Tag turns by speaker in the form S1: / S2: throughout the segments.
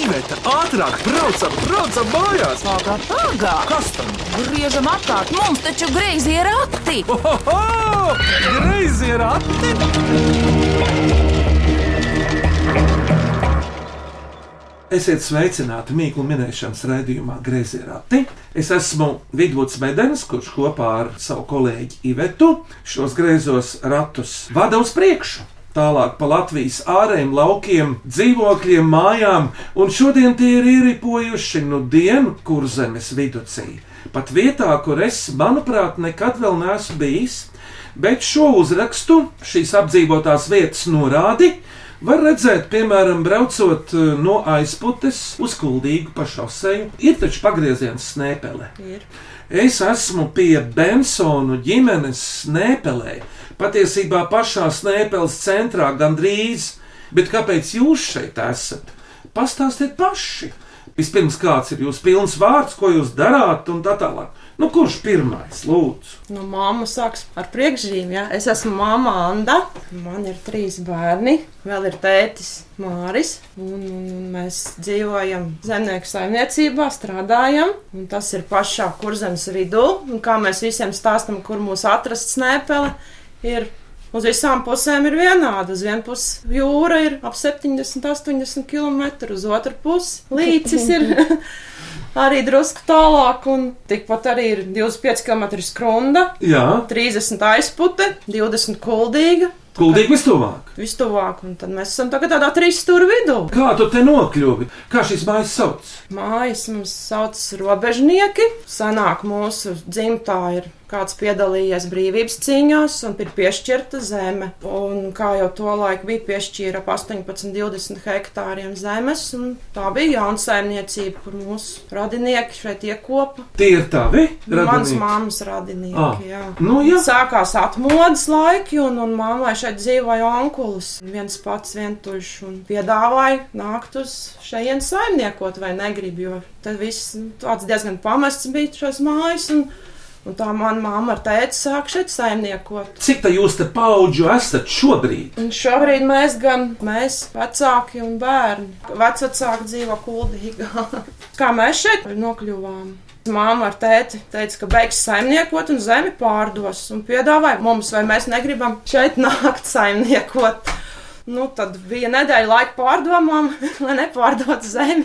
S1: Iveta, ātrāk, braucam, braucam mājās!
S2: Pagā, pagā!
S1: Kas tam?
S2: Griežam apkārt! Mums taču greizi ir rati!
S1: Ohoho! Greizi ir ati! Esiet sveicināti mīklu minēšanas raidījumā Greizi ir ati. Es esmu Vidvuds Medenis, kurš kopā ar savu kolēģi Ivetu šos greizos ratus vada uz priekšu. Tālāk pa Latvijas ārējiem laukiem, dzīvokļiem, mājām, un šodien tie ir ieripojuši nu dienu kurzemes viducī. Pat vietā, kur es, manuprāt, nekad vēl neesmu bijis, bet šo uzrakstu, šīs apdzīvotās vietas norādi, var redzēt, piemēram, braucot eh, no aizputes uz kuldīgu pašausēju. Ir taču pagrieziens snēpele.
S3: Ir.
S1: Es esmu pie Bensonu ģimenes snēpelē, patiesībā pašā snēpeles centrā gandrīz, bet kāpēc jūs šeit esat? Pastāstiet paši! Vispirms, kāds ir jūsu pilns vārds, ko jūs darāt, un tā tālāk. Nu, kurš pirmais, lūdzu?
S3: Nu, māma sāks ar priekšzīmju. Ja? Es esmu māma Anna. Man ir trīs bērni. Vēl ir tētis Māris. Un, un, un mēs dzīvojam zemnieku saimniecībā, strādājam. Un tas ir pašā kurzemes vidū. Un kā mēs visiem stāstām, kur mūs atrast snēpele, ir Uz visām pusēm ir vienāda. Uz vienu pusi jūra ir ap 70, 80 km, uz otru pusi līcis ir arī drusku tālāk, un tikpat arī ir 25 km skrunda,
S1: Jā,
S3: 30 aizpute, 20 kuldīga.
S1: kuldīgi vistuvāk.
S3: Vistuvāk, un tad mēs esam tagad tādā trīs stūra vidū.
S1: Kā tu te nokļuvi? Kā šīs mājas sauc?
S3: Mājas mums sauc robežnieki. Senāk mūsu dzimtā ir kāds piedalījies brīvības cīņās un ir piešķirta zeme. Un kā jau to laiku bija piešķīra ap 18, 20 hektāriem zemes, un tā bija jauna saimniecība, kur mūsu radinieki šeit iekopa.
S1: Tie ir tavi
S3: Nu, Mans
S1: radinieki.
S3: mammas radinieki.
S1: Ah,
S3: Jā.
S1: nu jā.
S3: Sākās atmodas laiki, un, un mammai šeit dzīvoja onkulis. Viens pats vientuļš un piedāvāja nākt uz šejienes saimniekot vai negrib, jo tad viss nu, tāds diezgan pamests bija šos mājas. Un, un tā mana mamma ar tēti sāk šeit saimniekot.
S1: Cik tā jūs te paudžu esat šobrīd?
S3: Un šobrīd mēs gan mēs, vecāki un bērni, vecāki dzīvo kuldīgā. Kā mēs šeit nokļuvām? Māma ar tēti teica, ka beigs saimniekot un zemi pārdos un piedāvāja mums, vai mēs negribam šeit nākt saimniekot. Nu, tad bija nedēļa laika pārdomām, lai nepārdotu zemi.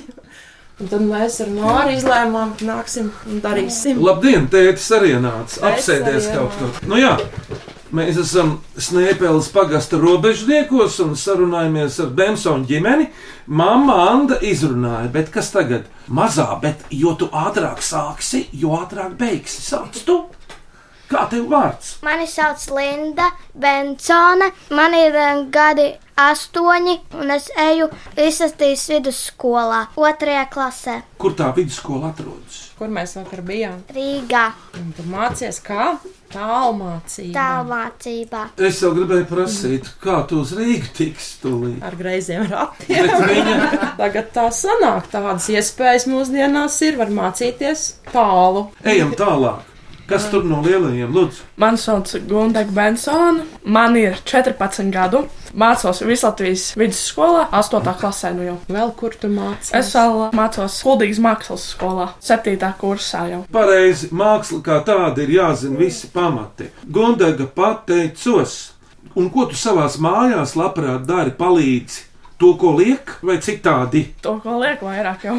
S3: Un tad mēs ar Māru izlēmām, ka nāksim un darīsim.
S1: Labdien, tētis arī nāca.
S3: Tētis
S1: Apsēdies
S3: arī
S1: kaut
S3: ienāca.
S1: kur. Nu jā, mēs esam Snēpeles pagasta robežniekos un sarunājamies ar Bensonu ģimeni. Mamma Anda izrunāja, bet kas tagad? Mazā, bet jo tu ātrāk sāksi, jo ātrāk beigsi. Sāc tu! Kā tev vārds?
S4: Mani sauc Linda Bensone, man ir eh, gadi astoņi, un es eju izsastīs vidusskolā, otrajā klasē,
S1: Kur tā vidusskola atrodas?
S3: Kur mēs vakar bijām?
S4: Rīgā,
S3: Un tu mācies, kā tālmācība.
S4: tālmācībā.
S1: Es jau gribēju prasīt, kā tu uz Rīgas tiks tūlīt.
S3: ar greiziem ratiem.
S1: Bet viņa
S3: Tagad tā sanāk, tādas iespējas mūsdienās ir, var mācīties tālu.
S1: ejam tālāk. Kas tur no lielajiem lūdzu?
S5: Mani sauc Gunteņa Bensona. Man ir 14 gadu. Mācos Vislatvijas vidusskolā, 8. klasē. Nu jau.
S3: Vēl kur tu mācies?
S5: es vēl mācos Kultūras mākslas skolā, 7. kursā jau.
S1: Pareizi, māksla kā tāda ir jāzina visi pamati. Gondaga pateicos, un ko tu savās mājās labprāt dari, palīdzi to, ko liek, vai citādi?
S5: To, ko lieku vairāk, jau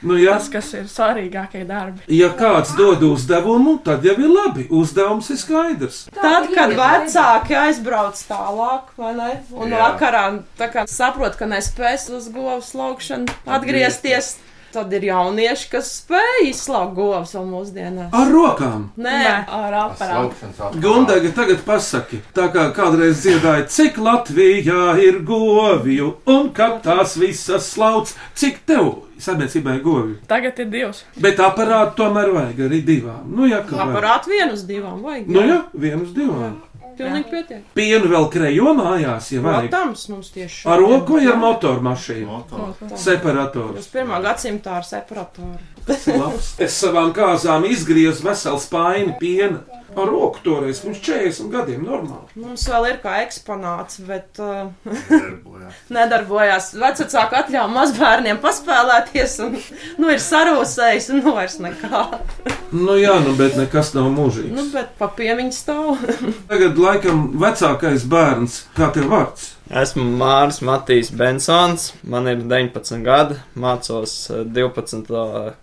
S1: Nu, jā,
S5: tas, kas ir svarīgākie darbi.
S1: ja kāds dod uzdevumu, tad jau ir labi, uzdevums ir skaidrs.
S3: Tad, kad vecāki aizbrauc tālāk, vai ne? Un
S1: Jā.
S3: vakarā tā kā saprot, ka nespēs uz govs laukšanu atgriezties, tad ir jaunieši, kas spēj izslaukt govs vēl mūsdienās.
S1: Ar rokām!
S3: Nē,
S5: Nē.
S3: ar aparātu.
S1: Gundaga, tagad pasaki, tā kā kādreiz dziedāja, cik Latvijā ir govju un kā tās visas slauc, cik tev sabiedrībā ir govju.
S5: Tagad ir divas.
S1: Bet aparātu tomēr vajag arī divām. Nu, jā, kā vajag.
S3: Aparātu vienu uz divām vajag.
S1: Nu, jā, vienu uz divām.
S3: Pilnīgi pietiek.
S1: Pienu vēl krejo mājās, ja vajag.
S3: Protams, mums tieši
S1: Ar
S3: šodien.
S1: roku vai ar motoru mašīnu? Separators.
S3: Uz pirmā gadsimta ar separatoru.
S1: Labs. Es savām kāzām izgriezu veselu spaini piena. Ar roku toreiz, pirms 40 gadiem, normāli.
S3: Mums vēl ir kā eksponāts, bet uh,
S6: Darbojā.
S3: nedarbojās. Vecāki atļāva mazbērniem paspēlēties, un nu, ir sarūsējis, un nu vairs nekā.
S1: Nu jā, nu bet nekas nav mūžīgs.
S3: Nu, bet papiemiņš stāv.
S1: Tagad laikam vecākais bērns, kā tev vārds?
S7: Esmu Mārcis Matīs Bensons, man ir 19 gadi, mācos eh, 12.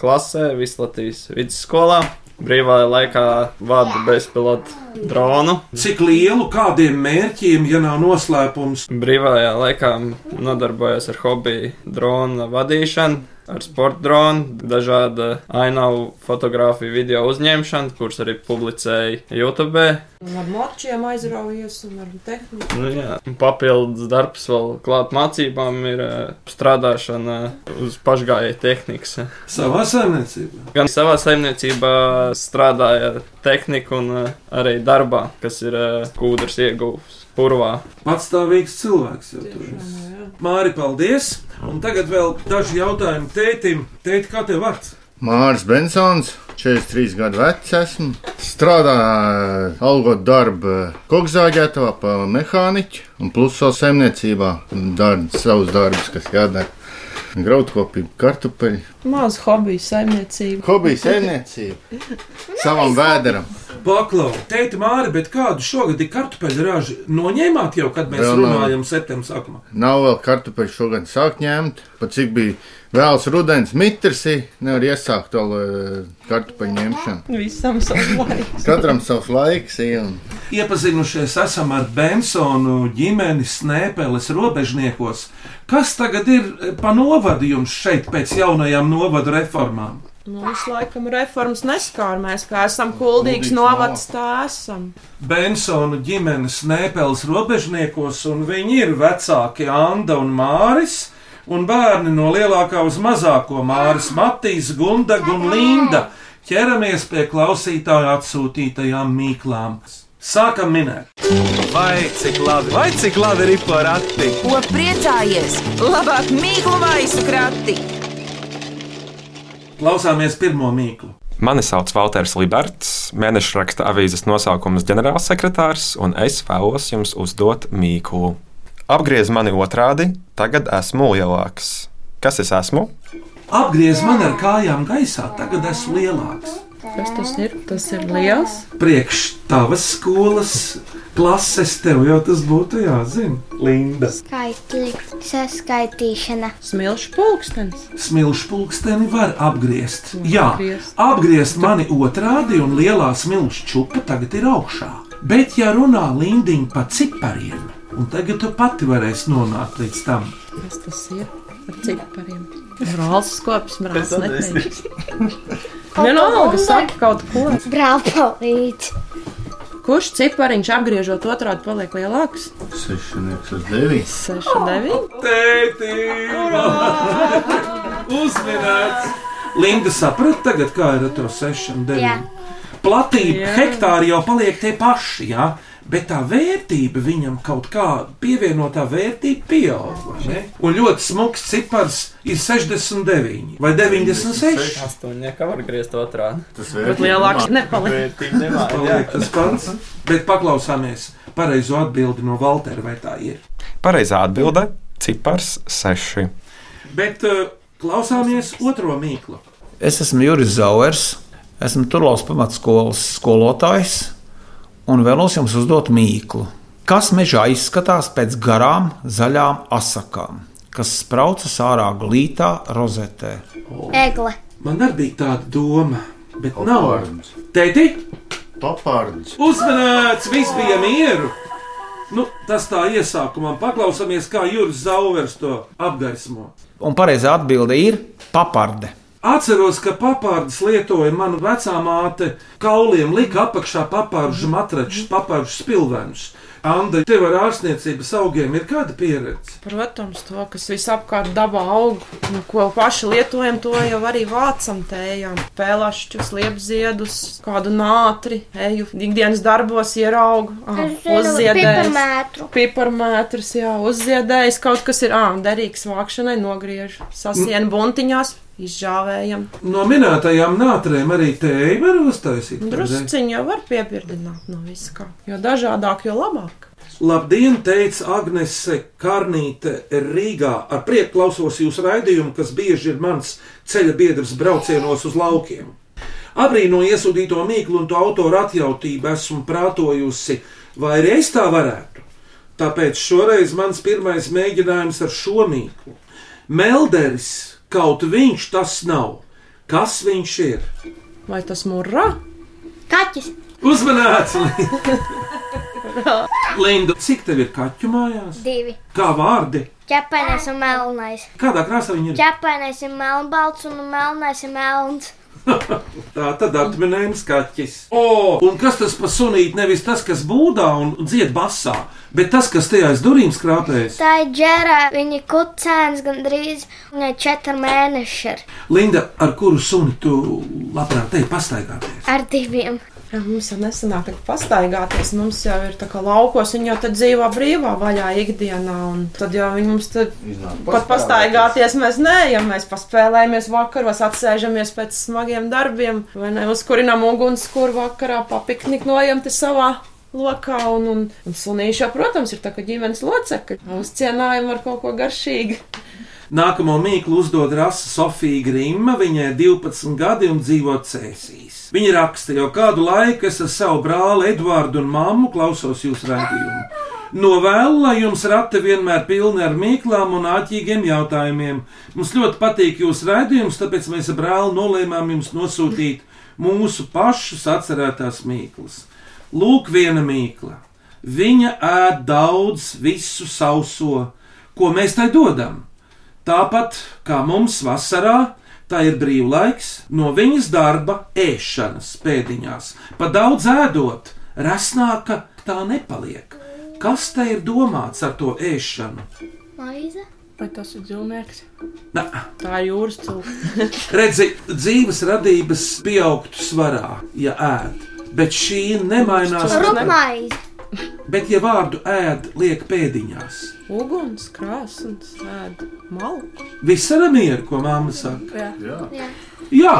S7: klasē, Vislatīs vidusskolā. Brīvajā laikā vadu bezpilotu dronu.
S1: Cik lielu, kādiem mērķiem, ja nav noslēpums?
S7: Brīvajā laikā nodarbojos ar hobiju drona vadīšanu, ar sporta dronu, dažādu ainavu fotografiju, video uzņemšanu, kurus arī publicēju YouTube.
S3: Un ar močiem aizraujies, un ar tehniku.
S7: Nu, jā. Papildus darbs vēl klāt mācībām ir eh, strādāšana uz pašgājēju tehnikas.
S1: Savā saimniecībā.
S7: Gan savā saimniecībā strādāja tehnika un eh, arī darbā, kas ir eh, kūdrs ieguvums purvā.
S1: Patstāvīgs cilvēks jau tur ir.
S3: Tiešām, jā.
S1: Māri, paldies! Un tagad vēl daži jautājumi tētim. Tēti, kā tev vārds?
S6: Mārcis Bensons, 43 gadu vecs esmu. Strādāju, algot darbu eh, kokzāģētavā, pa mehāniķu un plus vēl saimniecībā. Daru savus darbus, kas jādara. Graudkopība, kartupeļi,
S3: Maz hobiju saimniecība.
S6: hobija saimniecība, savam vēderam.
S1: Paklau, tēti, Māri, bet kādu šogad ir kartupeļu ražu noņēmāt jau, kad mēs
S6: Vēl nav.
S1: runājam septembrī sākumā?
S6: Nav vēl kartupeļu šogad sākt ņemt, pat cik bija vēls rudens, mitrs, nevar iesākt to kartupeļu ņemšanu.
S3: Visam savs laiks.
S6: Katram savs laiks, ir, un
S1: Iepazinušies esam ar Bensonu ģimeni Snēpeles robežniekos. Kas tagad ir e, pa novadījums šeit pēc jaunajām novadu reformām?
S3: Mums Nu, laikam reformas neskār. Mēs kā esam kuldīgs
S6: Kuldīgs
S3: novads, tā esam.
S1: Bensonu ģimenes Nēpels robežniekos, un viņi ir vecāki Anna un Māris, un bērni no lielākā uz mazāko Māris, Matīs, Gundag un Linda. Ķeramies pie klausītāju atsūtītajām mīklām. Sākam minēt!
S8: Vai cik labi, vai cik labi ir porakti?
S2: Ko priecājies? Labāk mīklu maisu krati!
S1: Klausāmies pirmo mīklu.
S9: Mani sauc Walters Liberts, mēneša raksta avīzes nosaukums ģenerālsekretārs, un es vēlos jums uzdot mīklu. Apgriez mani otrādi, tagad esmu lielāks. Kas es esmu?
S1: Apgriez man ar kājām gaisā, tagad esmu lielāks.
S3: Kas tas ir? Tas ir liels.
S1: Priekš tavas skolas klases tev jau tas būtu jāzina. Linda.
S4: Skaitlis, saskaitīšana,
S3: Smilšu pulkstenis.
S1: Smilšu pulksteni var apgriezt. Jā,
S3: apgriezt.
S1: apgriezt mani otrādi, un lielā smilšu čūpa tagad ir augšā. Bet, ja runā Lindiņa pa cipariem, un tagad tu pati varēsi nonākt līdz tam,
S3: Kas tas ir? Ar cipariem. Brālis kops, brālis neteikšu. Nu, Vienalga, saki kaut ko.
S4: brālpolīts,
S3: Kurš cipariņš apgriežot otrādi paliek lielāks?
S6: sešnieks uz deviņiem.
S3: 6, 9.
S1: Tēti! Uzminēts! Linda saprata tagad, kā ir ar to 6, 9.
S4: Jā.
S1: Platība,
S3: Jā.
S1: yeah. hektāri jau paliek tie paši, jā, bet tā vērtība viņam kaut kā pievienotā vērtība pieaug. vai ne? Un ļoti smags cipars ir 69 vai 96.
S7: Tas to nekā var griezt otrādi.
S6: Tas
S3: Bet lielāks nepaliek.
S1: Tas paliek tas pats, bet paklausāmies pareizo atbildi no Valtera, vai tā ir.
S9: Pareizā atbilde - cipars 6.
S1: Bet uh, klausāmies otro mīklu.
S10: Es esmu Juris Zauers, esmu Turlaus pamatskolas skolotājs un vēlos jums uzdot mīklu. Kas mežā izskatās pēc garām zaļām asakām, kas spraucas ārā glītā rozetē?
S4: egle,
S1: Man arī bija tāda doma, bet nav.
S6: Papārdums.
S1: Tēti,
S6: Papārdums.
S1: uzmanīts, viss bija mieru. Nu, tas tā iesākumam paklausāmies, kā Juris Zauvers to apgaismo.
S10: Un pareizā atbilde ir paparde.
S1: Atceros, ka papārdus lietoja mana vecā māte. Kauliem lika apakšā papārdžu matračus, papārdžu spilvenus. Anda, tev ar ārstniecības augiem ir kāda pieredze?
S3: Protams, to, kas visapkārt dabā aug, Nu, ko paši lietojam, to jau arī vācam tējām. Pēlašķus, liepziedus, kādu nātri. Eju ikdienas darbos ieraugu. ah,
S4: Es zinu, piparmētru.
S3: Piparmētrs, jā, uzziedējis. Kaut kas ir ā, derīgs vākšanai, nogriež. Sasienu buntiņās, izžāvējam.
S1: No minētajām nātrēm arī tēju var uztaisīt. kādreiz.
S3: Drusciņā jau var piebirdināt no viskā. Jo dažādāk, jo labāk.
S1: Labdien, teica Agnese Karnīte Rīgā. Ar prieku klausos jūsu raidījumu, kas bieži ir mans ceļa biedrs braucienos uz laukiem. Abrīnoju iesūtīto mīklu un to autoru atjautību esmu prātojusi, vai arī es tā varētu. Tāpēc šoreiz mans pirmais mēģinājums ar šo mīklu. Melderis, kaut viņš tas nav. Kas viņš ir?
S3: Vai tas murā?
S4: Kaķis.
S1: Uzmanīts! Linda, cik tev ir kaķu mājās?
S4: Divi.
S1: Kā vārdi?
S4: Ķepainais un melnais.
S1: Kādā krāsā viņi ir?
S4: Ķepainais ir melnbalts un melnais ir melns.
S1: Tā tad atminējums kaķis. O, un kas tas par sunīti? Nevis tas, kas būdā un dzied basā, bet tas, kas tajā aiz durvīm skrāpēs.
S4: Tā ir ģērā, viņa kucēns gandrīz, viņai četri mēneši ir
S1: Linda, ar kuru suni tu labprāt te pastaigāties?
S4: ar diviem.
S3: Jā, mums jau nesenāk tā kā pastaigāties. Mums jau ir tā kā laukos, viņi jau tad dzīvo brīvā vaļā ikdienā. un Tad jau viņi mums tad pat pastaigāties mēs neejam. Mēs paspēlējamies vakaros, atsēžamies pēc smagiem darbiem, vai ne? Uzkurinām ugunskura vakarā, papikniknojam te savā. Lokā, un, un, un sunīši jau, protams, ir tā kā ģimenes locekļi. Uzcienājam ar kaut ko garšīgu.
S1: Nākamo mīklu uzdod Rasa Sofija Grima. Viņai ir 12 gadi un dzīvo cēsīs. Viņa raksta, jau kādu laiku es ar savu brāli Edvardu un māmu klausos jūsu raidījumu. Novēlu, lai jums rati vienmēr pilni ar mīklām un āķīgiem jautājumiem. Mums ļoti patīk jūsu raidījums, tāpēc mēs ar brāli nolēmām jums nosūtīt mūsu pašu atcerētās mīklas. Lūk, viena mīkla. Viņa ēd daudz visu sauso, ko mēs tai dodam. Tāpat kā mums vasarā, tā ir brīvlaiks no viņas darba, ēšanas pēdiņās. Pa daudz ēdot, resnāka tā nepaliek. Kas te ir domāts ar to ēšanu?
S4: Maize?
S5: Vai tas ir dzīvnieks?
S1: Na,
S3: Tā ir jūras cūka.
S1: redzi, dzīves radības pieaugtu svarā, ja ēd. Bet šī nemainās.
S4: Rupmaize.
S1: Bet, ja vārdu ēd, liek pēdiņās.
S3: Uguns, krāsns, ēd, malku.
S1: Visā mierā, ko māma saka. Jā,
S3: Jā,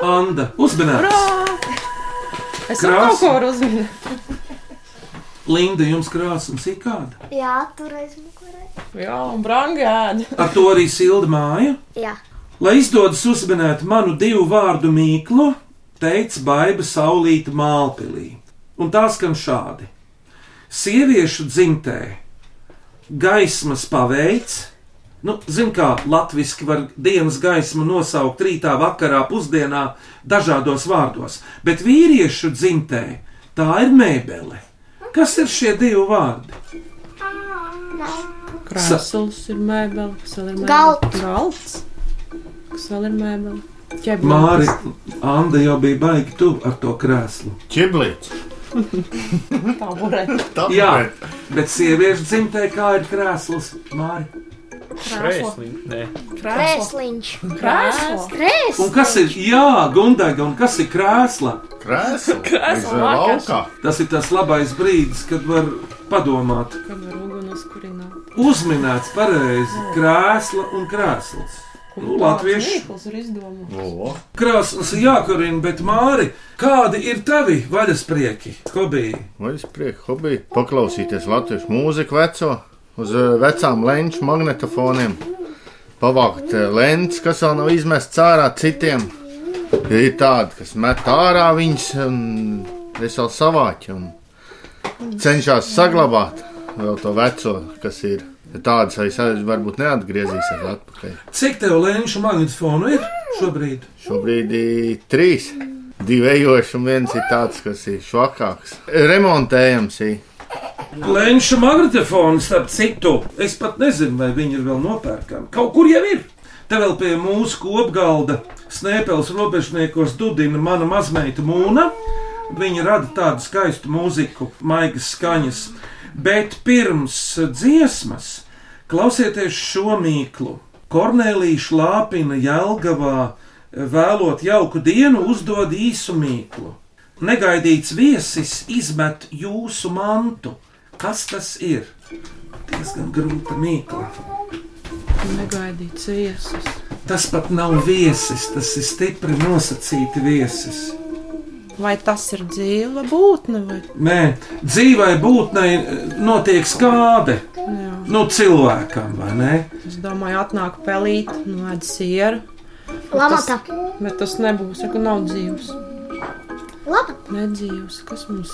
S1: Anna, uzmanīgs!
S3: Ā! Es jau kaut ko varu uzminēt.
S1: Linda, jums krāsums ir kāda?
S4: Jā, tur aizmugurē.
S3: Jā, un brāļa ēda.
S1: Ar to arī silda māja.
S4: Jā.
S1: Lai izdodas uzminēt manu divu vārdu mīklu, teica Baiba Saulīta Mālpilī. Un tā skan šādi: Sieviešu dzimtē gaismas paveids, nu, zin kā latviešu var dienas gaismu nosaukt rītā, vakarā, pusdienā, dažādos vārdos, bet vīriešu dzimtē tā ir mēbele. Kas ir šie divi vārdi?
S3: Krāsls ir mēbele, kas vēl ir mēbele.
S4: Galds.
S3: Galds. Kas vēl ir mēbele? Ķeblītis.
S1: Māri, Anna jau bija baigi tuvu ar to krēslu.
S6: Čiblīts.
S3: Tā būrē.
S1: Jā, bet sieviešu dzimtē kā ir krēsls, Māri.
S7: Nē,
S4: Krēsliņš.
S5: Krēslo.
S1: Un
S4: Krēsliņš.
S1: kas ir, jā, Gundaga, un kas ir krēsla?
S6: Krēsla.
S5: Krēsla,
S6: Aiz
S5: vakas.
S6: laukā.
S1: Tas ir tas labais brīdis, kad var padomāt.
S3: Kad var uguni uzkurināt.
S1: Uzminēts pareizi krēsla un krēsls. Nu, latvieši
S3: Mīkls ir izdomāts.
S6: O,
S1: krāsas ir jākurina, bet Māri, kādi ir tavi vaļasprieki, hobiji?
S6: Vai es prieku hobiju paklausīties latviešu mūziku veco, uz eh, vecām lenču magnetofoniem, pavākt eh, lenci, kas vēl nav izmests ārā citiem. Ir tādi, kas met ārā viņas, un es vēl savāķu un cenšas saglabāt vēl to veco, kas ir. Tādas es aiz- varbūt neatgriezīšos atpakaļ.
S1: Cik tev lēnšu magnetofonu ir šobrīd?
S6: Šobrīd ir trīs. Divi ejoši, un viens ir tāds, kas ir švakāks. Remontējams, ir.
S1: Lēnšu magnetofonu, starp citu, es pat nezinu, vai viņi ir vēl nopērkami. Kaut kur jau ir. Te vēl pie mūsu kopgalda Snēpels robežniekos dudina mana mazmeita Mūna. Viņa rada tādu skaistu mūziku, maigas skaņas. Bet pirms dziesmas klausieties šo mīklu. Kornelija Šlāpina Jelgavā "E, vēlot jauku dienu uzdod īsu mīklu. Negaidīts viesis izmet jūsu mantu. Kas tas ir? Diezgan grūta mīkla.
S3: Nu, Negaidīts viesis.
S1: Tas pat nav viesis, tas ir stipri nosacīti viesis.
S3: Vai tas ir dzīva būtne? Vai...
S1: Nē, dzīvai būtnei eh, notiek skābe.
S3: Jā.
S1: Nu, cilvēkam, vai ne?
S3: Es domāju, atnāk pelīt, noēd sieru. Bet
S4: Lamata.
S3: tas- Bet tas nebūs, ja nav dzīvs.
S4: Labi.
S3: Nedzīvs, kas mums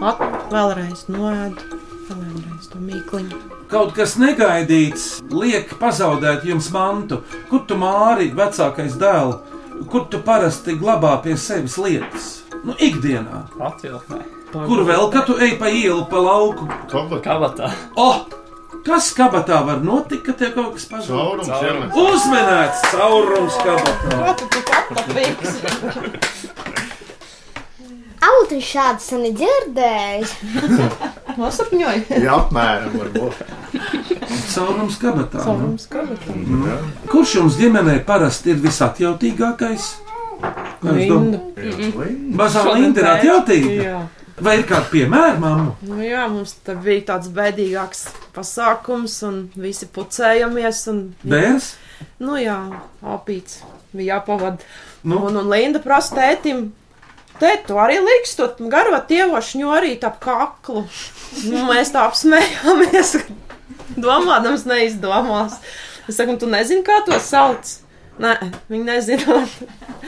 S3: at, vēlreiz noēd, vēlreiz to mīkliņu.
S1: Kaut kas negaidīts liek pazaudēt jums mantu. Kur tu māri, vecākais dēls, kur tu parasti glabā pie sevis lietas? Nu, ikdienā.
S7: Atvilknē.
S1: Kur vēl, kad tu ej pa ielu, pa lauku?
S7: Kabatā.
S1: Oh, kas kabatā var notikt, ka tev kaut kas pazūd?
S6: Caurums
S7: Caurums.
S6: iemet.
S1: Uzmanīts, caurums kabatā.
S3: Ko tu tik atpapīgs?
S4: Auti šādu senu dzirdēju.
S3: Nosapņoju.
S6: Jā, apmēram varbūt.
S1: Caurums kabatā. Nu.
S3: Mums kabatā.
S1: Kurš jums ģimenē parasti ir visatjautīgākais? Kā jūs domājat?
S3: Linda.
S1: Mazā Linda ir atjautīga.
S3: Jā.
S1: Vai ir kāda piemēra, mamma?
S3: Nu jā, mums tā bija tāds bēdīgāks pasākums, un visi pucējamies. Un,
S1: Bērs?
S3: nu jā, apīts bija jāpavada.
S1: Nu?
S3: Un, un Linda prasa tētim. Tēt, tu arī liksti to garo tievošņu arī ap kaklu. Nu, mēs tā apsmējāmies, ka domādams neizdomās. Es saku, "Un tu nezini, kā to sauc. Nē, viņi nezina.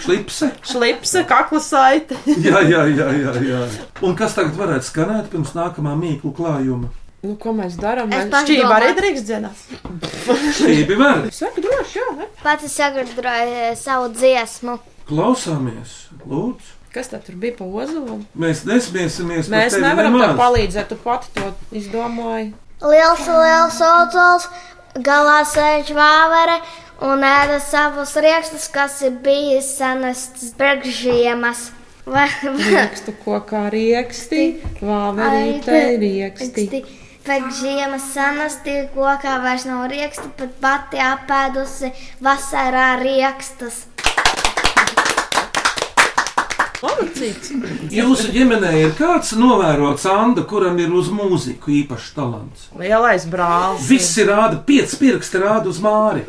S1: Slipse?
S3: Šlipse, kakla saite.
S1: Jā, jā, jā, jā, jā. Un kas tagad varētu skanēt pirms nākamā mīklu klājuma?
S3: Nu, ko mēs darām?
S4: Es
S3: Mēs
S4: pašu
S3: šķīvi arī
S4: domāju.
S3: drīkst dziedāt.
S1: Šķīvi var.
S3: Saka, droši, jā, ne?
S4: Pati sagatavoju savu dziesmu.
S1: Klausāmies, lūdzu.
S3: Kas tā tur bija pa ozolu?
S1: Mēs nesmiesimies. par
S3: Mēs
S1: tevi
S3: nevaram tev
S1: nemaz.
S3: palīdzēt, tu pati to izdomāji.
S4: Liels, liels ozols, galā sēž vāvere un ēda savus riekstus, kas ir bijis senas brīvžiemas. Vai
S3: Riekstu kokā rieksti, vāverīte rieksti.
S4: Pēc ziemas sanasti kokā vairs nav rieksta, bet pati apēdusi vasarā riekstas.
S3: Mamacīts.
S1: Jūsu ģimenē ir kāds novērots Anna, kuram ir uz mūziku īpašs talants.
S3: Lielais brālis.
S1: Visi rāda, pieci pirksti rāda uz māri.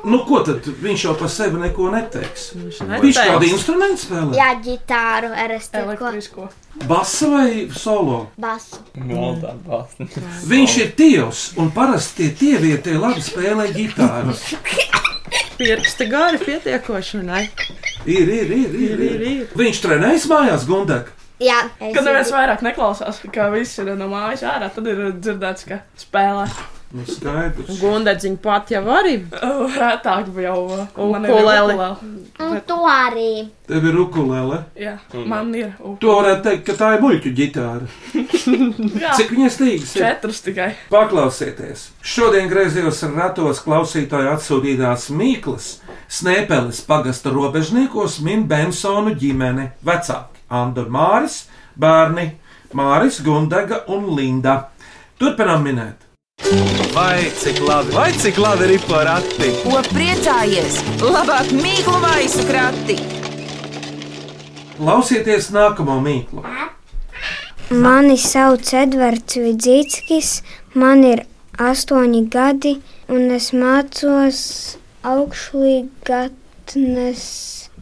S1: Nu, ko tad viņš jau par sevi neko neteiks? Viņš
S3: neteiks.
S1: kādu instrumentu spēlē?
S4: Jā, ģitāru, elektrisko
S5: Elektrisko.
S1: Basa vai solo?
S4: basu.
S7: Goldā balsts.
S1: Viņš ir tievs, un parasti tie tievietie labi spēlē ģitāras.
S3: Pirksti gari pietiekoši, vai ne?
S1: Ir, ir, ir, ir, ir,
S3: Ir,
S1: ir. Viņš trenējas mājās, Gundag.
S4: Jā, es
S5: Kad neviens
S4: zinu.
S5: vairāk neklausās, ka viss ir no mājas ārā, tad ir dzirdēts, ka spēlē.
S1: Nu, skaidrs.
S3: Gundedziņa pat jau arī.
S5: Uh, Retāk bija jau uh, man ir
S3: Ukulele.
S5: ukulele.
S4: Un to arī.
S1: Tev ir ukulele.
S5: Jā, man ir ukulele.
S1: To varētu teikt, ka tā ir muļķu ģitāra.
S5: Jā.
S1: Cik viņas tīgas ir?
S5: Četras tikai.
S1: Paklausieties! Šodien griezījos ratos klausītāju atsūtītās Mīklas, Snēpeles pagasta robežniekos min Bensonu ģimene, vecāki Andor Māris, bērni Māris, Gundaga un Linda. Turpinām minēt!
S8: Vai cik labi, vai cik labi ir porakti?
S2: Ko priecājies? Labāk mīklu maisu krati!
S1: Klausieties nākamo mīklu!
S11: Mani sauc Edvards Vidzītskis, man ir astoņi gadi, un es mācos augšlīgatnes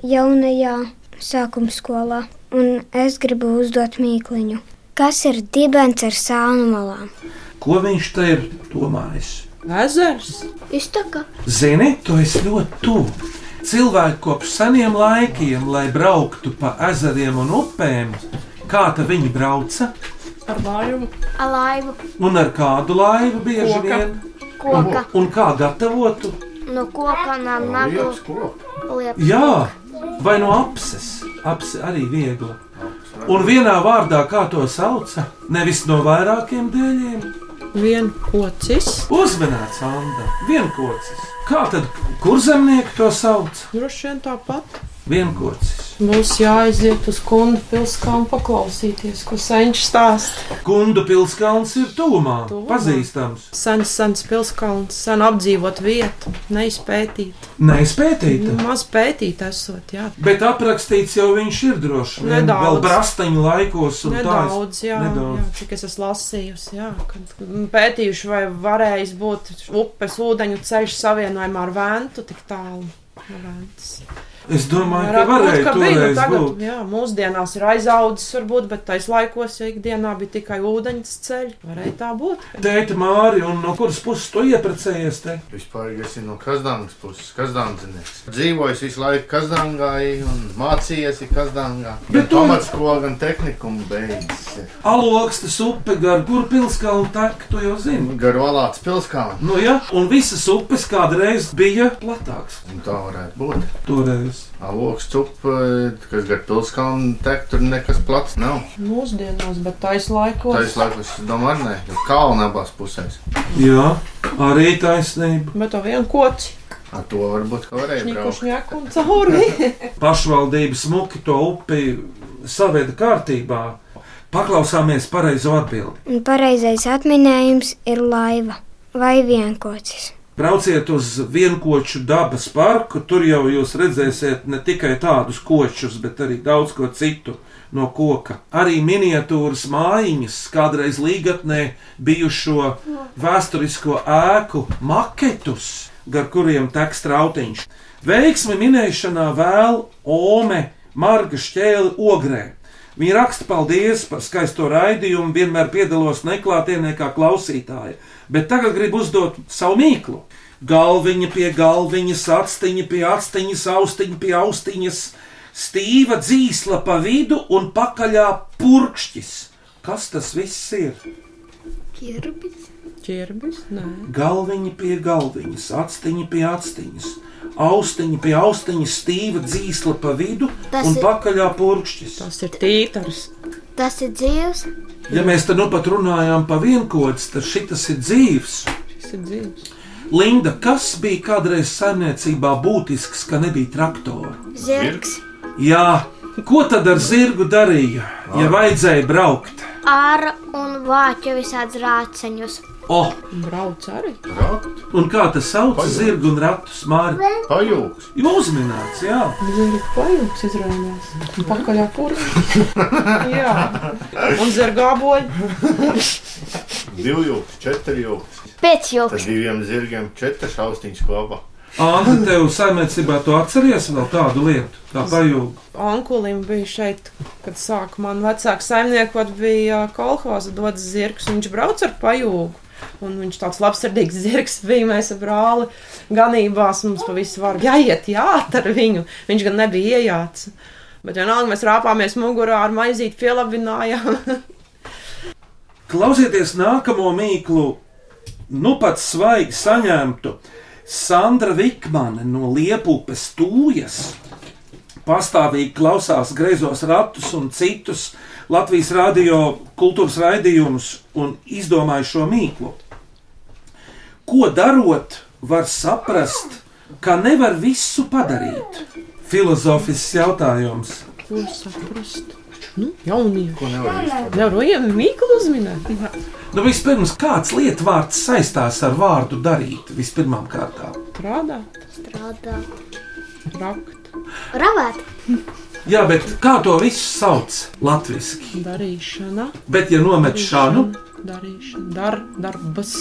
S11: jaunajā sākumskolā, un es gribu uzdot mīkliņu. Kas ir dibens ar sānu malām?
S1: Ko viņš te ir domājis?
S3: Ezers.
S4: Iztaka.
S1: Zini, tu esi ļoti tuvu. Cilvēki kopš seniem laikiem, lai brauktu pa ezeriem un upēm, kā tā viņi brauca
S5: Ar vājumu.
S4: Alaivu.
S1: un ar kādu laivu bieži
S5: Koka.
S1: vien,
S4: Koka.
S1: un kā gatavotu,
S4: No koka nav nagu
S6: Lietas koks.
S4: liepa.
S1: jā, vai no apses, apse arī viegli. Un vienā vārdā, kā to sauca, nevis no vairākiem dēļiem,
S3: Vien kocis.
S1: uzmanīts Anna, vienkocis. Kā tad kurzemnieki to sauc?
S3: Droši vien tāpat.
S1: Vienkocis.
S3: Mums jāaiziet uz kundu pilsētu un paklausīties, ko senčs stāsta.
S1: Gundu pilskalns ir tuvumā, pazīstams.
S3: Sens, sens pilskalns, sen apdzīvot vietu, neizpētīt.
S1: Neizpētīta.
S3: Maz pētīt esot, jā.
S1: Bet aprakstīts jau viņš ir droši vien.
S3: Nedaudz.
S1: Vēl brastaņu laikos un tā. es-
S3: Nedaudz, jā,
S1: nedaudz.
S3: jā, cik es esmu lasījusi, jā, kad pētījuši, vai varējis būt upes ūdeņu ceļš savienojumā ar ventu tik tālu. no Ventas.
S1: Es domāju, ka
S3: Varētu būt,
S1: varēja
S3: bija, nu,
S1: toreiz
S3: tagad,
S1: būt.
S3: jā, mūsdienās ir aizaudzis, varbūt, bet tais laikos, ja ikdienā bija tikai ūdeņas ceļi, varēja tā būt.
S1: Tēti Māri, un no kuras puses tu ieprecējies? Te?
S6: Vispār es esmu no Kazdāngas puses, Kazdāngzinieks. Dzīvojis visu laiku Kazdāngā un mācījies ir Kazdāngā. Bet tu pamatskolu gan tehnikumu beidzis.
S1: Aloksta upe gar Gurpilskalnu tak, tu jau zini.
S6: Gar Valāts pilskalnu.
S1: Nu jā, un visas upes kādreiz bija platāks.
S6: Un tā varētu būt.
S1: Toreiz.
S6: Aloks cupa, kas gar pilskalnu tek, tur nekas plats nav.
S3: Mūsdienās, bet tais laikos.
S6: Tā es laiku es domāju, ar ne, jo kalna abās pusēs.
S1: Jā, arī taisnība.
S3: Bet to vienu koci,
S6: Ar to varbūt ka varēja braukt.
S3: šņekušņēku un cauri.
S1: Pašvaldība smuki to upi saveda kārtībā. Paklausāmies pareizo atbildi.
S11: Un pareizais atminējums ir laiva vai vienkocis.
S1: Brauciet uz vienkoču dabas parku, tur jau jūs redzēsiet ne tikai tādus kočus, bet arī daudz ko citu no koka. Arī miniatūras mājiņas, kādreiz līgatnē bijušo vēsturisko ēku maketus, gar kuriem tek strautiņš. Veiksmi minēšanā vēl Ome Marga Šķēle Ogrē. Viņa raksta paldies par skaisto raidījumu, vienmēr piedalos neklātienē kā klausītāja, bet tagad gribu uzdot savu mīklu. Galviņa pie galviņas, atsteņa pie atsteņas, austiņa pie austiņas, stīva dzīsla pa vidu un pakaļā purkšķis. Kas tas viss ir?
S4: Kirbis.
S3: Ķirbis, nē.
S1: Galviņa pie galviņas, atsteņa pie atsteņas, austiņa pie austiņas, stīva dzīsla pa vidu
S4: Tas
S1: un
S4: ir-
S1: pakaļā purkšķis.
S3: Tas ir tītars.
S4: Tas ir dzīvs.
S1: Ja mēs te nu pat runājām par vienkods, tad šis ir dzīves.
S3: Šis ir dzīves.
S1: Linda, kas bija kādreiz saimniecībā būtisks, ka nebija traktora?
S4: Zirgs.
S1: Jā, ko tad ar zirgu darīja, ja vajadzēja braukt?
S4: Ar un vāķu visādi rāceņus.
S1: O,
S3: Brauc arī.
S6: Braukt,
S1: un kā tas sauc? Zirgu un ratu smārķi.
S6: pajūgs.
S1: Jūs uzminēts, jā.
S3: Zirga pajūgs izrādās. Un Pakaļā purvī. Jā. Un zirgāboļi.
S6: Divjūgs, četrjūgs.
S4: Pēc jūgas.
S6: Tad diviem zirgiem četras austiņas kopā.
S1: Anta, tev saimniecībā tu atceries vēl tādu lietu, kā pajūga.
S3: Onkulim bija šeit, kad sāka man vecāka saimniekot, bija uh, kolhoza dodas zirgs, un viņš brauc ar pajūgu. Un viņš tāds labsirdīgs zirgs bija. Mēs ar brāli ganībās mums pa visu varu jāiet, jāt ar viņu. Viņš gan nebija iejāts. Bet vienalga mēs rāpāmies mugurā ar maizīti pielabinājām.
S1: Klausieties nākamo mīklu, nu pat svaigi saņemtu. Sandra Vikmane no Liepupes tūjas pastāvīgi klausās griezos ratus un citus Latvijas radio kultūras raidījumus un izdomāja šo mīklu. Ko darot, var saprast, ka nevar visu padarīt? Filozofisks jautājums.
S3: Ko saprast? Nu, jaunieši.
S6: Ko nevar izdarīt?
S3: Jau rojam mīklu uzminēt.
S1: Nu, vispirms, kāds lietvārds saistās ar vārdu darīt? Vispirmām kārtām.
S3: Strādāt,
S4: Strādā.
S3: rakt,
S4: Ravēt.
S1: Jā, bet kā to visu sauc latviešu?
S3: darīšana.
S1: Bet, ja nomet šādu,
S3: Darīšana, dar, darbas,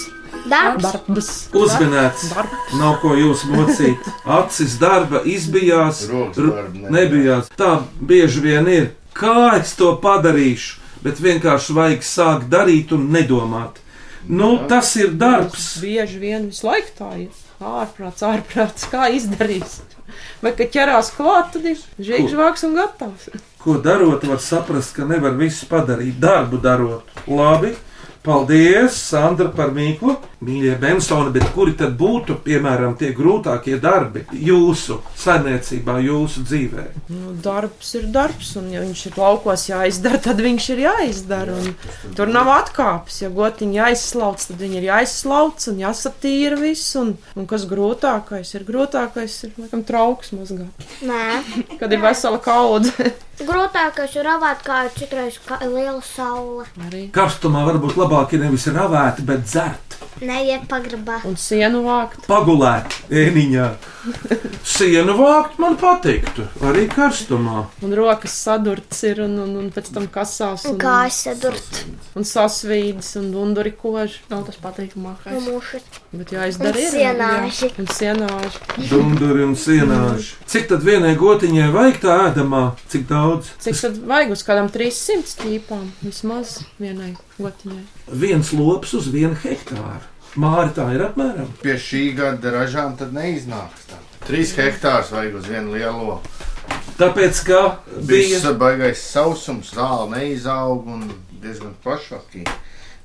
S4: Darbs.
S3: darbas.
S1: uzminēts, nav ko jūs mocīt. Acis darba izbijās,
S6: Rokas
S1: ru-
S6: darba nebijās.
S1: nebijās. Tā bieži vien ir. Kā es to padarīšu? Bet vienkārši vajag sākt darīt un nedomāt. Nu, tas ir darbs.
S3: Mums Bieži vien visu laiku tā ir. Ārprāts, ārprāts, kā izdarīs. Vai kad ķerās klāt, tad ir žīgžvāks un gatavs.
S1: Ko darot, var saprast, ka nevar visu padarīt. Darbu darot labi, Paldies, Sandra, par mīklu. Mīļie Bensoni, bet kuri tad būtu, piemēram, tie grūtākie darbi jūsu saimniecībā, jūsu dzīvē?
S3: Nu, darbs ir darbs, un ja viņš ir laukos jāizdara, tad viņš ir jāizdara. un Tur nav atkāpes. Ja gotiņa jāizslauc, tad viņi ir jāizslauc un jāsatīra viss. Un, un kas grūtākais ir? Grūtākais ir laikam, trauks mazgāt,
S4: Nē,
S3: kad ir vesela kaudze.
S4: grūtākais ir ravāt kā ir citreiz kā liela saule.
S1: Karstumā varbūt labāk ir nevis ravēt, bet dzert,
S4: Neiet pagrabā.
S3: un sienu vākt.
S1: pagulēt ēniņā. Sienu vākt man patiktu, arī karstumā.
S3: Un rokas sadurts ir, un, un, un pēc tam kasās.
S4: Un kājas sadurts.
S3: Un sasvīdis, un dunduri koži.
S5: Nav tas patīkamākais.
S4: Mūši.
S3: Bet jāizdara
S4: Un
S3: ir.
S4: sienāži.
S3: Un sienāži.
S1: Dunduri un sienāži. Cik tad vienai gotiņai vajag tā ēdamā? Cik daudz?
S3: Cik tad vajag uz kādām 300 tīpām? Vismaz vienai gotiņai.
S1: Viens lops uz vienu hektāru. Māri tā ir apmēram.
S6: Pie šī gada ražām tad neiznāks. Tā. Trīs hektārus vajag uz vienu lielo.
S1: Tāpēc, ka bija
S6: Bija baisais sausums, zāle neizauga un diezgan plašākī.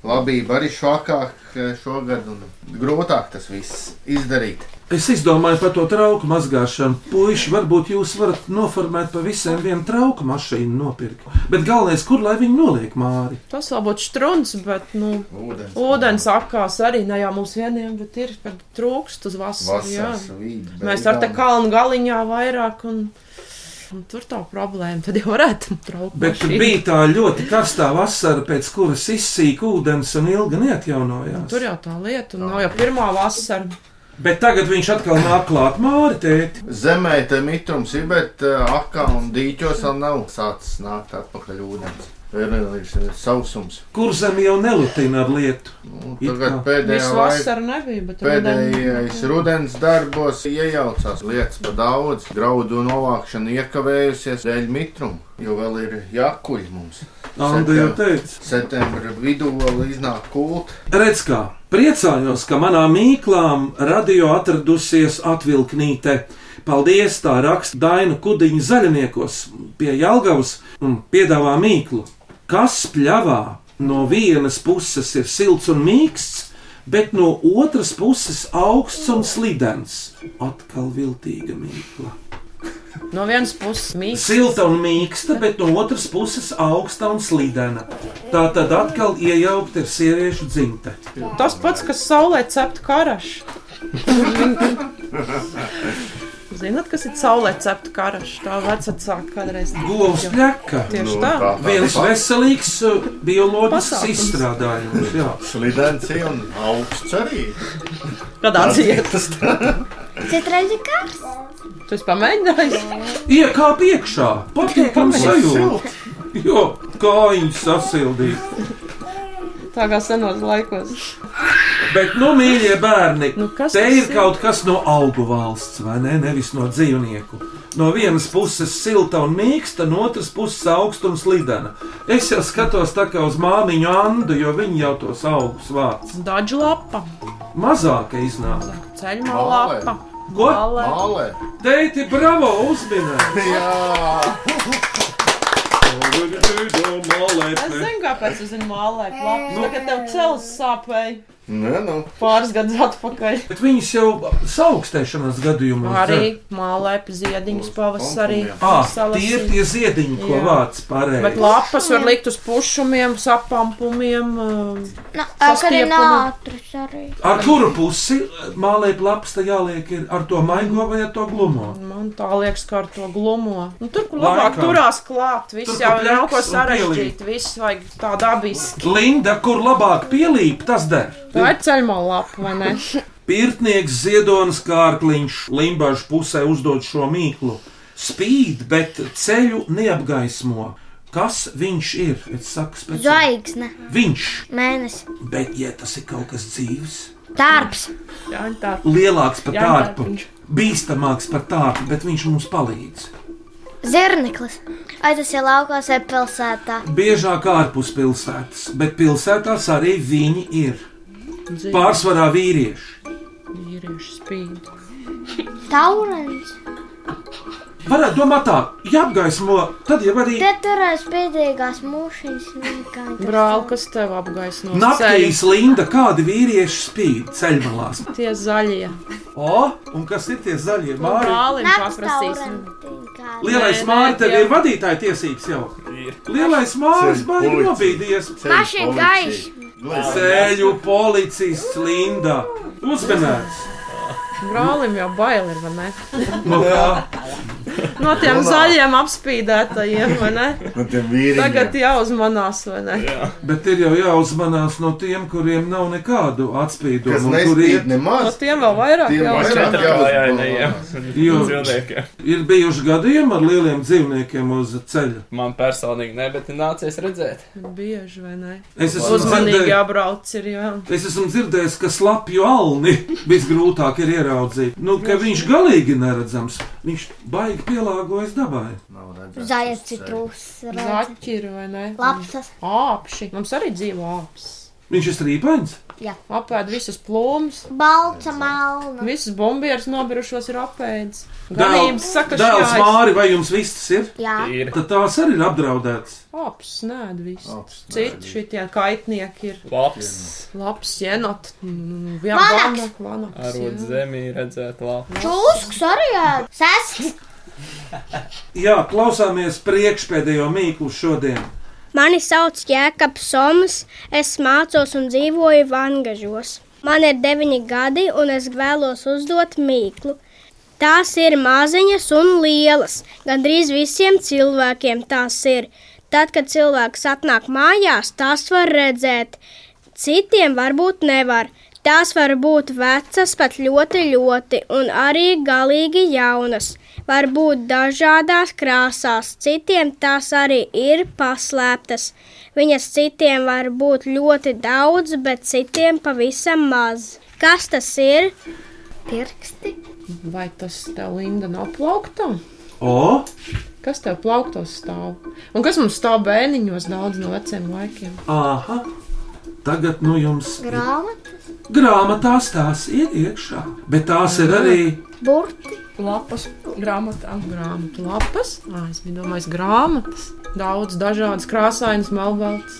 S6: Labība arī švakāk eh, šogad un grūtāk tas viss izdarīt.
S1: Es izdomāju par to trauku mazgāšanu. Puisši, varbūt jūs varat noformēt pa visiem vienu trauku mašīnu nopirkt. Bet galvenais, kur lai viņi noliek māri?
S3: Tas vēl būtu strūns, bet, nu,
S6: Ūdens.
S3: ūdens akās arī ne jau mums vieniem, bet ir, kad trūkst uz vasaru. jā.
S6: Vasaras vīde.
S3: Mēs ar te kalnu galiņā vairāk, un, un tur tā problēma. Tad jau varētu traukt.
S1: Bet tur bija tā ļoti karstā vasara, pēc kuras izsīk ūdens un ilgi neatjaunojās.
S3: Tur jau tā lieta, un nav jau pirmā vasara.
S1: Bet tagad viņš atkal nāk klāt māri, tēti.
S6: Zemē te mitrums ir, bet eh, akā un dīķos vēl nav sācis nākt atpakaļ ūdens. Ir, ir sausums.
S1: Kur zem jau nelutina ar lietu.
S6: Nu,
S1: It kā.
S6: tagad pēdējā
S3: Visu
S6: laikā.
S3: vasaru nebija, bet
S6: Pēdējais
S3: rudenī-
S6: rudens darbos iejaucās lietas par daudz, graudu novākšana iekavējusies dēļ mitruma, jo vēl ir jākuļ mums.
S1: Andu jau teica.
S6: Septembra vidū vēl iznāk kult.
S1: Redz, kā priecājos, ka manā mīklām radio atradusies atvilknīte. Paldies, tā raksta Daina Kudiņa zaļniekos pie Jālgavas un piedāvā mīklu. Kas pļavā no vienas puses ir silts un mīksts, bet no otras puses augsts un slidens. Atkal viltīga mīkla.
S3: No vienas puses mīksts.
S1: Silta un mīksta, bet no otras puses augsta un slidena. Tā tad atkal iejaukta ir sieviešu dzimte.
S3: Tas pats, kas saulē cepta karašu. Zināt, kas ir saulē cepta karašu? Tā vecāka kādreiz.
S1: Govs pļaka.
S6: Nu,
S3: Tieši tā.
S1: Viens veselīgs uh, bioloģisks
S3: Pasākums.
S1: izstrādājums. jā.
S6: Slidens ir un augsts arī.
S3: Kādā dziesmā?
S4: Citreiz ir kārs.
S3: Tu esi pamēģinājis?
S1: Iekāp iekšā, patīkami sajūta. Jo kājiņas sasildīja.
S3: Tā kā senos laikos.
S1: Bet, nu, mīļie bērni,
S3: Nu, kas
S1: te
S3: tas
S1: ir
S3: ir?
S1: kaut kas no augu valsts, vai ne? Nevis no dzīvnieku. No vienas puses silta un mīksta, no otras puses augsta un slidena. Es jau skatos tā kā uz māmiņu Andu, jo viņa jau tos augus vāc.
S3: Dažu lapa,
S1: Mazāka iznāk.
S3: ceļā
S6: Mālē.
S3: lapa.
S1: Ko?
S3: Mālē.
S6: Mālē.
S1: Teiti, bravo, uzminēji!
S6: Jā.
S3: Es zinu, kāpēc es zinu mālē. Labi,
S1: Nu.
S3: tagad tev cels sāpēja
S6: Nē, nu.
S3: pāris gadus atpakaļ.
S1: Bet viņas jau saaugstēšanās gadījumā
S3: Arī mālē ziediņus pavasarī.
S1: Ah, tie ir
S3: salasīt.
S1: tie ziediņi, ko
S3: Jā.
S1: vāc
S3: Bet
S1: pareizi.
S3: lapas var likt uz pušumiem, sapampumiem. um,
S4: Nā, arī
S3: Sastiepama.
S4: nātrus arī.
S1: Ar kuru pusi mālēt lapas te jāliek ir ar to maigo vai ar to glumo?
S3: Man tā liekas, ka ar to glumo. Nu, tur, kur
S1: Laikam.
S3: labāk turās klāt, viss
S1: Tur,
S3: jau
S1: kur
S3: nav ko
S1: pļaks un
S3: sarežģīt. Viss vajag tā dabiski.
S1: Linda, kur labāk pielīp, tas der.
S3: Tā ir ceļā lapa, vai ne?
S1: Pirtnieks Ziedonis Kārkliņš Limbažu pusē uzdod šo mīklu. Spīd, bet ceļu neapgaismo. Kas viņš ir? Es saku, speciāli.
S4: Zvaigzne.
S1: Viņš,
S4: Mēnesis.
S1: bet ja tas ir kaut kas dzīves,
S4: Tārps.
S5: Jā, viņa tā.
S1: lielāks par
S5: Jā, tā
S1: tārpu,
S5: viņš.
S1: bīstamāks par tārpu, bet viņš mums palīdz.
S4: Zirneklis. Vai tas ir laukos vai pilsētā?
S1: Biežāk ārpus pilsētas, bet pilsētās arī viņi ir.
S3: Dzīvi.
S1: Pārsvarā vīrieši.
S3: Vīrieši spīd.
S4: Taurens.
S1: Varētu domāt tā, ja apgaismo, tad jau arī
S4: Te turēs bēdīgās mūšiņas. nekā interesanti.
S3: Brāl, kas tev apgaismo?
S1: naktīs Linda, kādi vīrieši spīd ceļmalās.
S3: Tie zaļie. Nu,
S1: O, un kas ir tie zaļie māri?
S3: Brālim
S4: Nakts
S3: paprasīsim.
S1: Lielais
S3: Nē, nē,
S1: māri, tev
S3: tie-
S1: ir vadītāja tiesības jau. Lielais māris,
S6: Ceļu
S1: man ir
S6: policija.
S1: nobīdies.
S6: Ceļu Mašīna policija.
S1: Ceļu policists Linda. Uzmanēts.
S3: Brālim jau bail ir, vai ne?
S1: No kā?
S3: No tiem
S6: Domā.
S3: zaļiem apspīdētajiem, vai ne?
S6: No tiem vīriņiem.
S3: Tagad jāuzmanās, vai ne?
S1: Bet ir jau jāuzmanās no tiem, kuriem nav nekādu atspīdumu.
S6: Kas
S1: un
S6: nespīd
S1: kuri ir-
S3: No
S6: nemaz.
S3: tiem vēl vairāk
S6: Tiem vairāk
S3: jāuzmanās.
S6: jāuzmanās.
S1: Jo-
S7: Dzīvniekiem.
S1: Ir bijuši gadījumi ar lieliem dzīvniekiem uz ceļa.
S7: Man personīgi ne, bet ir nācies redzēt.
S3: Bieži, vai ne?
S1: Es esmu
S3: Uzmanīgi
S1: dzirdēju-
S3: jābrauc ir, jā.
S1: Es esmu dzirdējis, ka slapju alni visgrūtāk ir ieraudzīt. Nu, ka viņš galīgi neredzams. Viņš baigi pielāgojas dabai.
S4: Zaļais citrus.
S3: Zaķi ir, vai ne?
S4: Lapsas.
S3: Āpši. Mums arī dzīvo āps.
S1: Viņš ir strīpains.
S3: Apēd visas plūmas.
S4: Balta melna.
S3: Visas bombieras nobijušos ir apēdis.
S1: Dēl-
S3: Ganības
S1: Dēls
S3: sakašķājis.
S1: Māri, vai jums viss ir?
S4: Jā.
S7: Ir.
S1: Tad tās arī ir apdraudētas.
S3: Ops, nē, viss.
S6: Aps nēd
S3: Citi šitie kaitnieki ir.
S7: Labs.
S3: Labs, jenot. Mm, Jā,
S4: Vanaks.
S3: vana- vanaks,
S7: Arot
S3: jā.
S7: zemī redzēt labi.
S4: Čūsks arī ēd. Sesks.
S1: Jā, klausāmies priekšpēdējo mīklu šodien.
S11: Mani sauc Jēkabs Soms, es mācos un dzīvoju Vangažos. Man ir deviņi gadi, un es vēlos uzdot mīklu. Tās ir maziņas un lielas. Gandrīz visiem cilvēkiem tās ir. Tad, kad cilvēks atnāk mājās, tās var redzēt. Citiem varbūt nevar. Tās var būt vecas, pat ļoti, ļoti, un arī galīgi jaunas. Var būt dažādās krāsās, citiem tās arī ir paslēptas. Viņas citiem var būt ļoti daudz, bet citiem pavisam maz. Kas tas ir?
S4: Pirksti.
S3: Vai tas tev, Linda, nav plaukta?
S1: O,
S3: Kas tev plauktos stāv? Un kas mums stāv bēniņos daudz no veciem laikiem?
S1: aha, tagad nu jums ir.
S4: Grāmata.
S1: grāmatās tās ir iekšā, bet tās ir arī
S4: Burti.
S5: Lapas grāmatā.
S3: Grāmatu lapas, Ā, es biju domājis, grāmatas. Daudz dažādas krāsainas, melnbalts.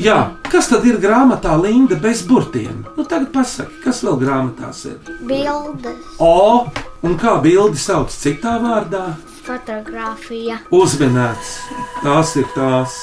S1: Jā, kas tad ir grāmatā Linda bez burtiem? Nu, tagad pasaki, kas vēl grāmatās ir?
S4: Bildes.
S1: O, un kā bildi sauc citā vārdā?
S4: Fotografija.
S1: Uzminēts, tās ir tās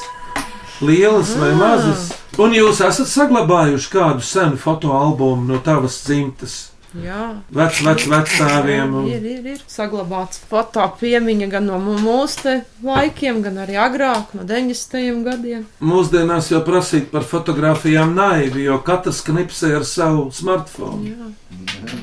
S1: lielas vai mazas. Un jūs esat saglabājuši kādu senu fotoalbumu no tavas dzimtas,
S3: Jā,
S1: vecā, vecā vecāviem. Un...
S3: ir, ir, ir saglabāts foto piemiņa gan no mu- mūsu te laikiem, gan arī agrāk, no 90. gadiem.
S1: Mūsdienās jau prasīt par fotografijām naivi, jo katrs knipsē ar savu smartphone.
S3: Jā.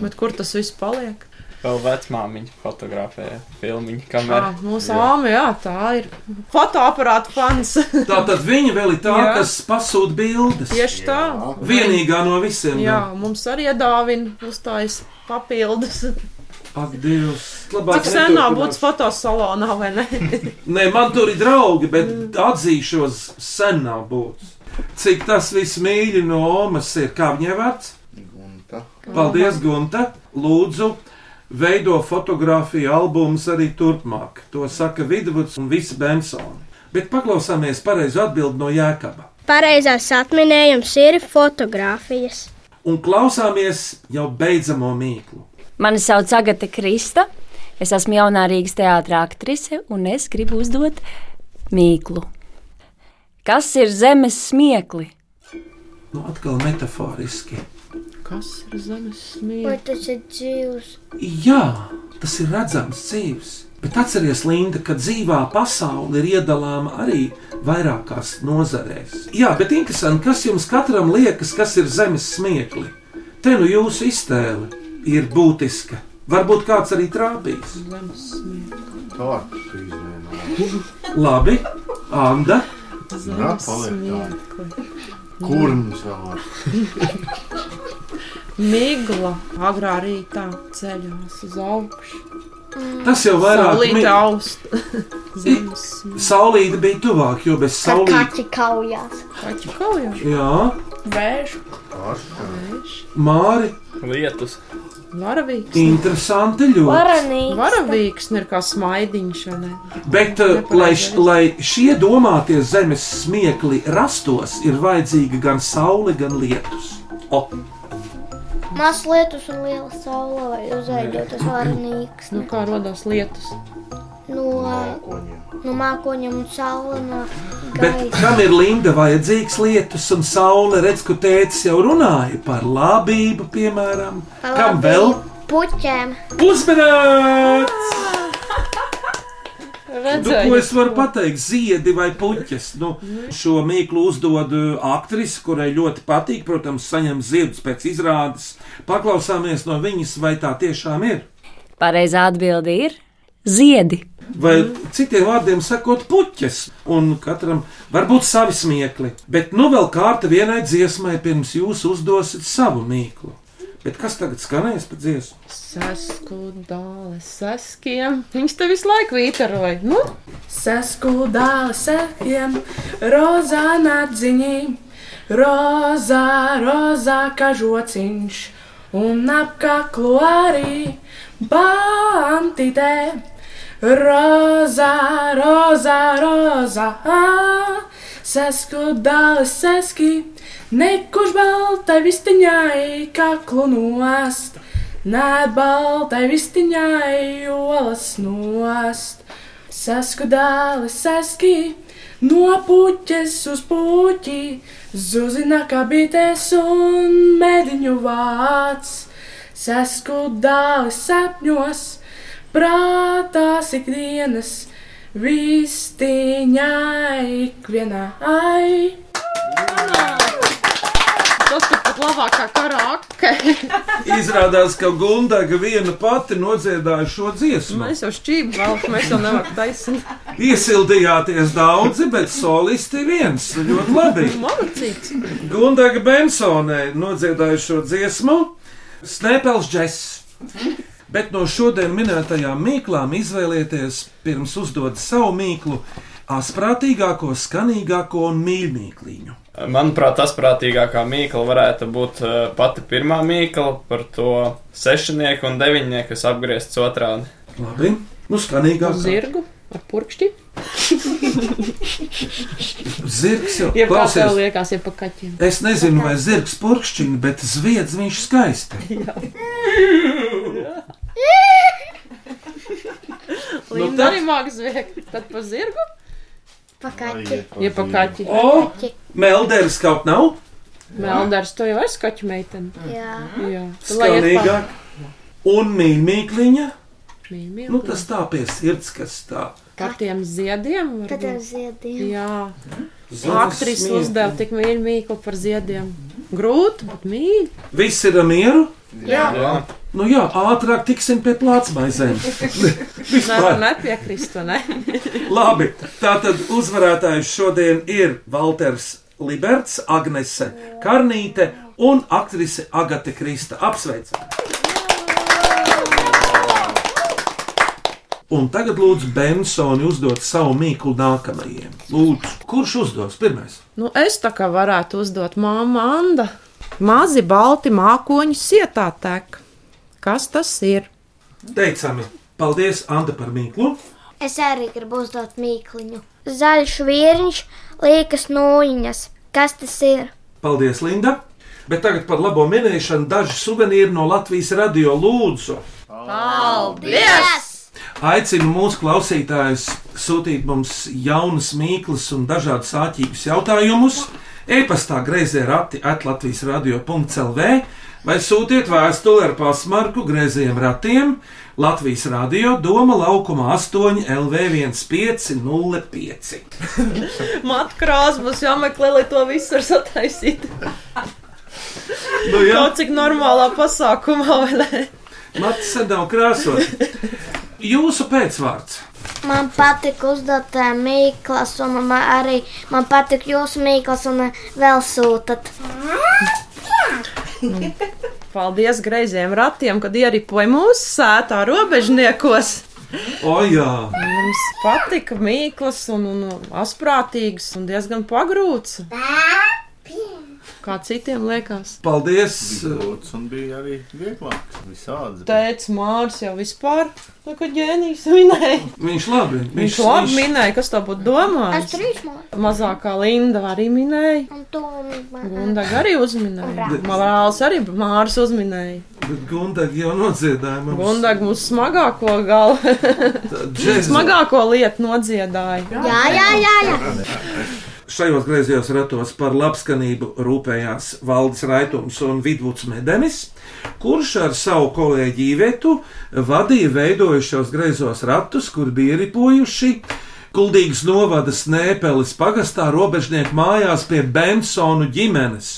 S3: Bet kur tas viss paliek?
S7: Vēl vecmāmiņa fotografēja filmiņu kamerā.
S3: Jā, mūsu āmē, jā, tā ir fotoaparāta fans.
S1: Tā tad viņa vēl ir tā,
S3: Jā.
S1: kas pasūta bildes.
S3: Tieši tā.
S1: Vienīgā no visiem.
S3: Jā, mums arī iedāvina uzstājas papildus.
S1: Ak, Dievs. Labāk,
S3: Cik senā
S1: neturpināt.
S3: būtu fotosalonā, vai ne?
S1: Nē, man tur ir draugi,
S3: Mm.
S1: bet atzīšos, senā būtu. Cik tas viss mīļi no Omas ir, kā viņai vārds?
S6: Gunta.
S1: Paldies, Gunta! Lūdzu, veido fotografiju albumus arī turpmāk. To saka Vidvuds un visi Bensoni. Bet paklausāmies pareizo atbildi no Jēkaba.
S11: Pareizās atminējums ir fotografijas.
S1: Un klausāmies jau beidzamo mīklu.
S12: Mani sauc Agata Krista. Es esmu jaunā Rīgas teātrā aktrise un es gribu uzdot mīklu. Kas ir zemes smieklis?
S1: Nu, atkal metaforiski.
S3: Kas ir zemes
S4: Vai
S3: smieklīgi?
S4: tas ir dzīvs?
S1: Jā, tas ir redzams dzīves. Bet atcerieties, Linda, ka dzīvā pasaule ir iedalāma arī vairākās nozarēs. Jā, bet interesanti, kas jums katram liekas, kas ir zemes smiekli. Te nu jūsu iztēle ir būtiska. Varbūt kāds arī trāpīs.
S3: Zemes smieklīgi.
S6: Tārps izvienā.
S1: Labi, Anna,
S6: Jā, paliek nu, tā. Kurms vēl.
S3: Migla agrā rītā ceļās uz augšu.
S1: tas jau vairāk
S3: Saulīt aust. Zemes
S1: Saulīte bija tuvāk, jo bez
S4: Kad
S1: saulītes.
S4: kaķi kaujās.
S3: smieklīgi. Kaujā.
S1: Jā,
S5: Vēža.
S6: Tārps.
S1: Māri,
S7: Lietus.
S3: Varavīgs.
S1: Interesanti ļoti.
S3: Varavīgs ir kā smaidiņš. vai ne?
S1: Bet, eh, lai, š- lai šie domātie zemes smiekli rastos, ir vajadzīga gan saule, gan lietus. O,
S4: Mazs lietus un liela saule, lai uzveidotas varonīgs.
S3: Nu, kā radās lietas?
S4: No, no mākoņiem un saule no
S1: bet
S4: gaisa.
S1: kam ir Linda vajadzīgs lietus un saule? Redz, ka tēvs jau runāja par labību, piemēram.
S4: Pa
S1: Kam
S4: labi
S1: vēl?
S4: Puķēm.
S1: Uzmanīts! Nu,
S3: Redzēju,
S1: ko es varu pateikt? Ziedi vai puķis. Nu, šo mīklu uzdod ā, aktrise, kurai ļoti patīk. Protams, saņem ziedus pēc izrādes. Paklausāmies no viņas, vai tā tiešām ir.
S12: Pareizā atbilde ir ziedi.
S1: Vai citiem vārdiem sakot, puķis. Un katram var būt savi smiekli. Bet nu vēl kārta vienai dziesmai, pirms jūs uzdosit savu mīklu. Bet kas tagad skanēs pēc dziesmas?
S3: Saskudāle, saskiem. Viņš te visu laiku vītaroja. Nu?
S5: Saskudāli sekiem, rozā nadziņī, rozā, rozā kažociņš, un apkaklu arī bantitē. Rozā, rozā, rozā, ā, saskudāli seski, nekuš baltai vistiņai, kaklu nost, nē baltai vistiņai, olas nost. Saskudāli saski, no puķes uz puķi, zuzina kabītes un mediņu vāc. Saskudāli sapņos, prātās ikdienas, vistiņā ikvienā ai.
S3: Tas tur pat labākā karāka.
S1: Izrādās, ka Gundaga viena pati nodziedāja šo dziesmu.
S3: Mēs jau šķību vēl, mēs jau nevaram taisīt.
S1: Iesildījāties daudzi, bet solisti viens ļoti labi.
S3: Malacīts.
S1: Gundaga Bensonē nodziedāja šo dziesmu Snēpels Džess. Bet no šodien minētajām mīklām izvēlieties, pirms uzdod savu mīklu, asprātīgāko, skanīgāko un mīļāko.
S7: Manuprāt, tas prātīgākā mīkla varētu būt eh, pati pirmā mīkla par to sešnieku un deviņnieku, kas apgriezts otrādi.
S1: Labi, nu skanīgāk.
S3: Zirgu ar purkšķi.
S1: Zirgs jau
S3: Jeb kā tev
S1: klausies.
S3: liekas, jeb pa kaķiem.
S1: Es nezinu, vai zirgs purkšķina, bet zviedz viņš skaisti.
S3: Līdz
S1: tad-
S3: arī māks zviegt. Tad pa zirgu?
S4: Pa
S1: kaķi.
S3: Ja pa kaķi.
S1: O! Melderis kaut nav.
S3: Meldars, tu jau esi kaķu meitene.
S4: Jā.
S3: Jā. Tu lai iet pa-
S1: Skanīgāk. Un mīlīgākliņa.
S3: Mīļmīkliņa.
S1: Nu, tas tā pie sirds, kas tā.
S3: Katiem ziediem. varbūt.
S4: Katiem ziediem.
S3: Jā. Nu,
S1: Zelta
S3: Aktrise
S1: smilti.
S3: uzdeva tik mīļu mīklu par ziediem. Grūti, bet mīļi.
S1: Viss ir ar mieru.
S3: Jā. Jā.
S1: Nu jā, ātrāk tiksim pie plātsmaizēm.
S3: Nevar nepiekrist, vai ne?
S1: Labi, tātad uzvarētājs šodien ir Walters Liberts, Agnese Karnīte un aktrise Agate Krista. Apsveicam! Un tagad lūdzu Bensoni uzdot savu mīklu nākamajiem. Lūdzu, kurš uzdos pirmais?
S3: Nu, es tā kā varētu uzdot māmu Andu. Mazi balti mākoņi sietā tek. Kas tas ir?
S1: Teicami, paldies Anta par mīklu.
S4: Es arī gribu uzdot mīkliņu. Zaļš vīriņš, liekas nūjiņas. Kas tas ir?
S1: Paldies, Linda! Bet tagad par labo minēšanu daži suvenīri no Latvijas radio lūdzu.
S2: Paldies!
S1: Aicinu mūsu klausītājus sūtīt mums jaunas mīklas un dažādas āķības jautājumus. E-pastā grazē rati atlatvijas radio.clv vai sūtiet vēstuli ar pasmarku grazējiem ratiem Latvijas radio Doma laukumā 8 LV1505.
S3: Matkrās mums jāmeklē, lai to visu var sataisīt.
S1: Nu, jā.
S3: Kaut cik normālā pasākumā, vai ne?
S1: Mats sen nav krāsot. Jūsu pēcvārds.
S4: Man patīk uzdot eh, mīklas, un man arī man patīk jūsu mīklas, un eh, vēl sūtat.
S3: Paldies greiziem ratiem, kad ieripoja mūsu sētā robežniekos.
S1: O, jā.
S3: Mums patika mīklas un, un asprātīgas un diezgan pagrūts. kā citiem liekas.
S1: Paldies!
S6: Grūts un bija arī vieglāk. Visādi.
S3: Teicis Mārcis jau vispār, nu, ka ģēnijs minēja.
S1: Viņš labi.
S3: Viņš, viņš labi viņš... minēja, kas to būtu domājis.
S4: trīs man.
S3: Mazākā Linda arī minēja.
S4: Un tu man.
S3: Gunda arī uzminēja. Morāls arī Mārcis uzminēja.
S1: Bet Gundag jau nodziedāja mums.
S3: Gunda mums smagāko galu,
S1: džēza.
S3: smagāko lietu nodziedāja.
S4: Jā, jā, jā, jā.
S1: Šajos griezījos ratos par labskanību rūpējās Valdis Raitums un Vidvuds Medenis, kurš ar savu kolēģi Ivetu vadīja veidojušos griezos ratus, kur bija ripojuši Kuldīgas novada Snēpelis pagastā robežnieku mājās pie Bensonu ģimenes.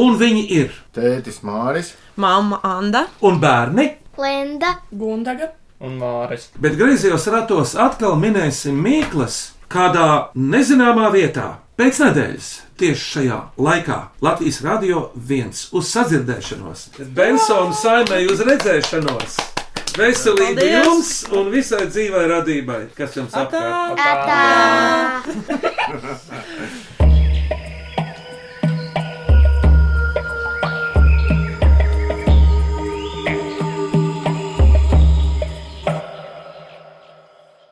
S1: Un viņi ir
S6: Tētis Māris.
S3: Māma Anda.
S1: un bērni.
S4: Linda.
S5: Gundaga.
S7: Un Māris.
S1: Bet griezījos ratos atkal minēsim Mīklas kādā nezināmā vietā. Pēc nedēļas tieši šajā laikā Latvijas radio viens uz sadzirdēšanos, Bensona saimē uz redzēšanos. Veselība
S3: Paldies!
S1: jums un visai dzīvai radībai, kas jums apkārt.
S4: Atā.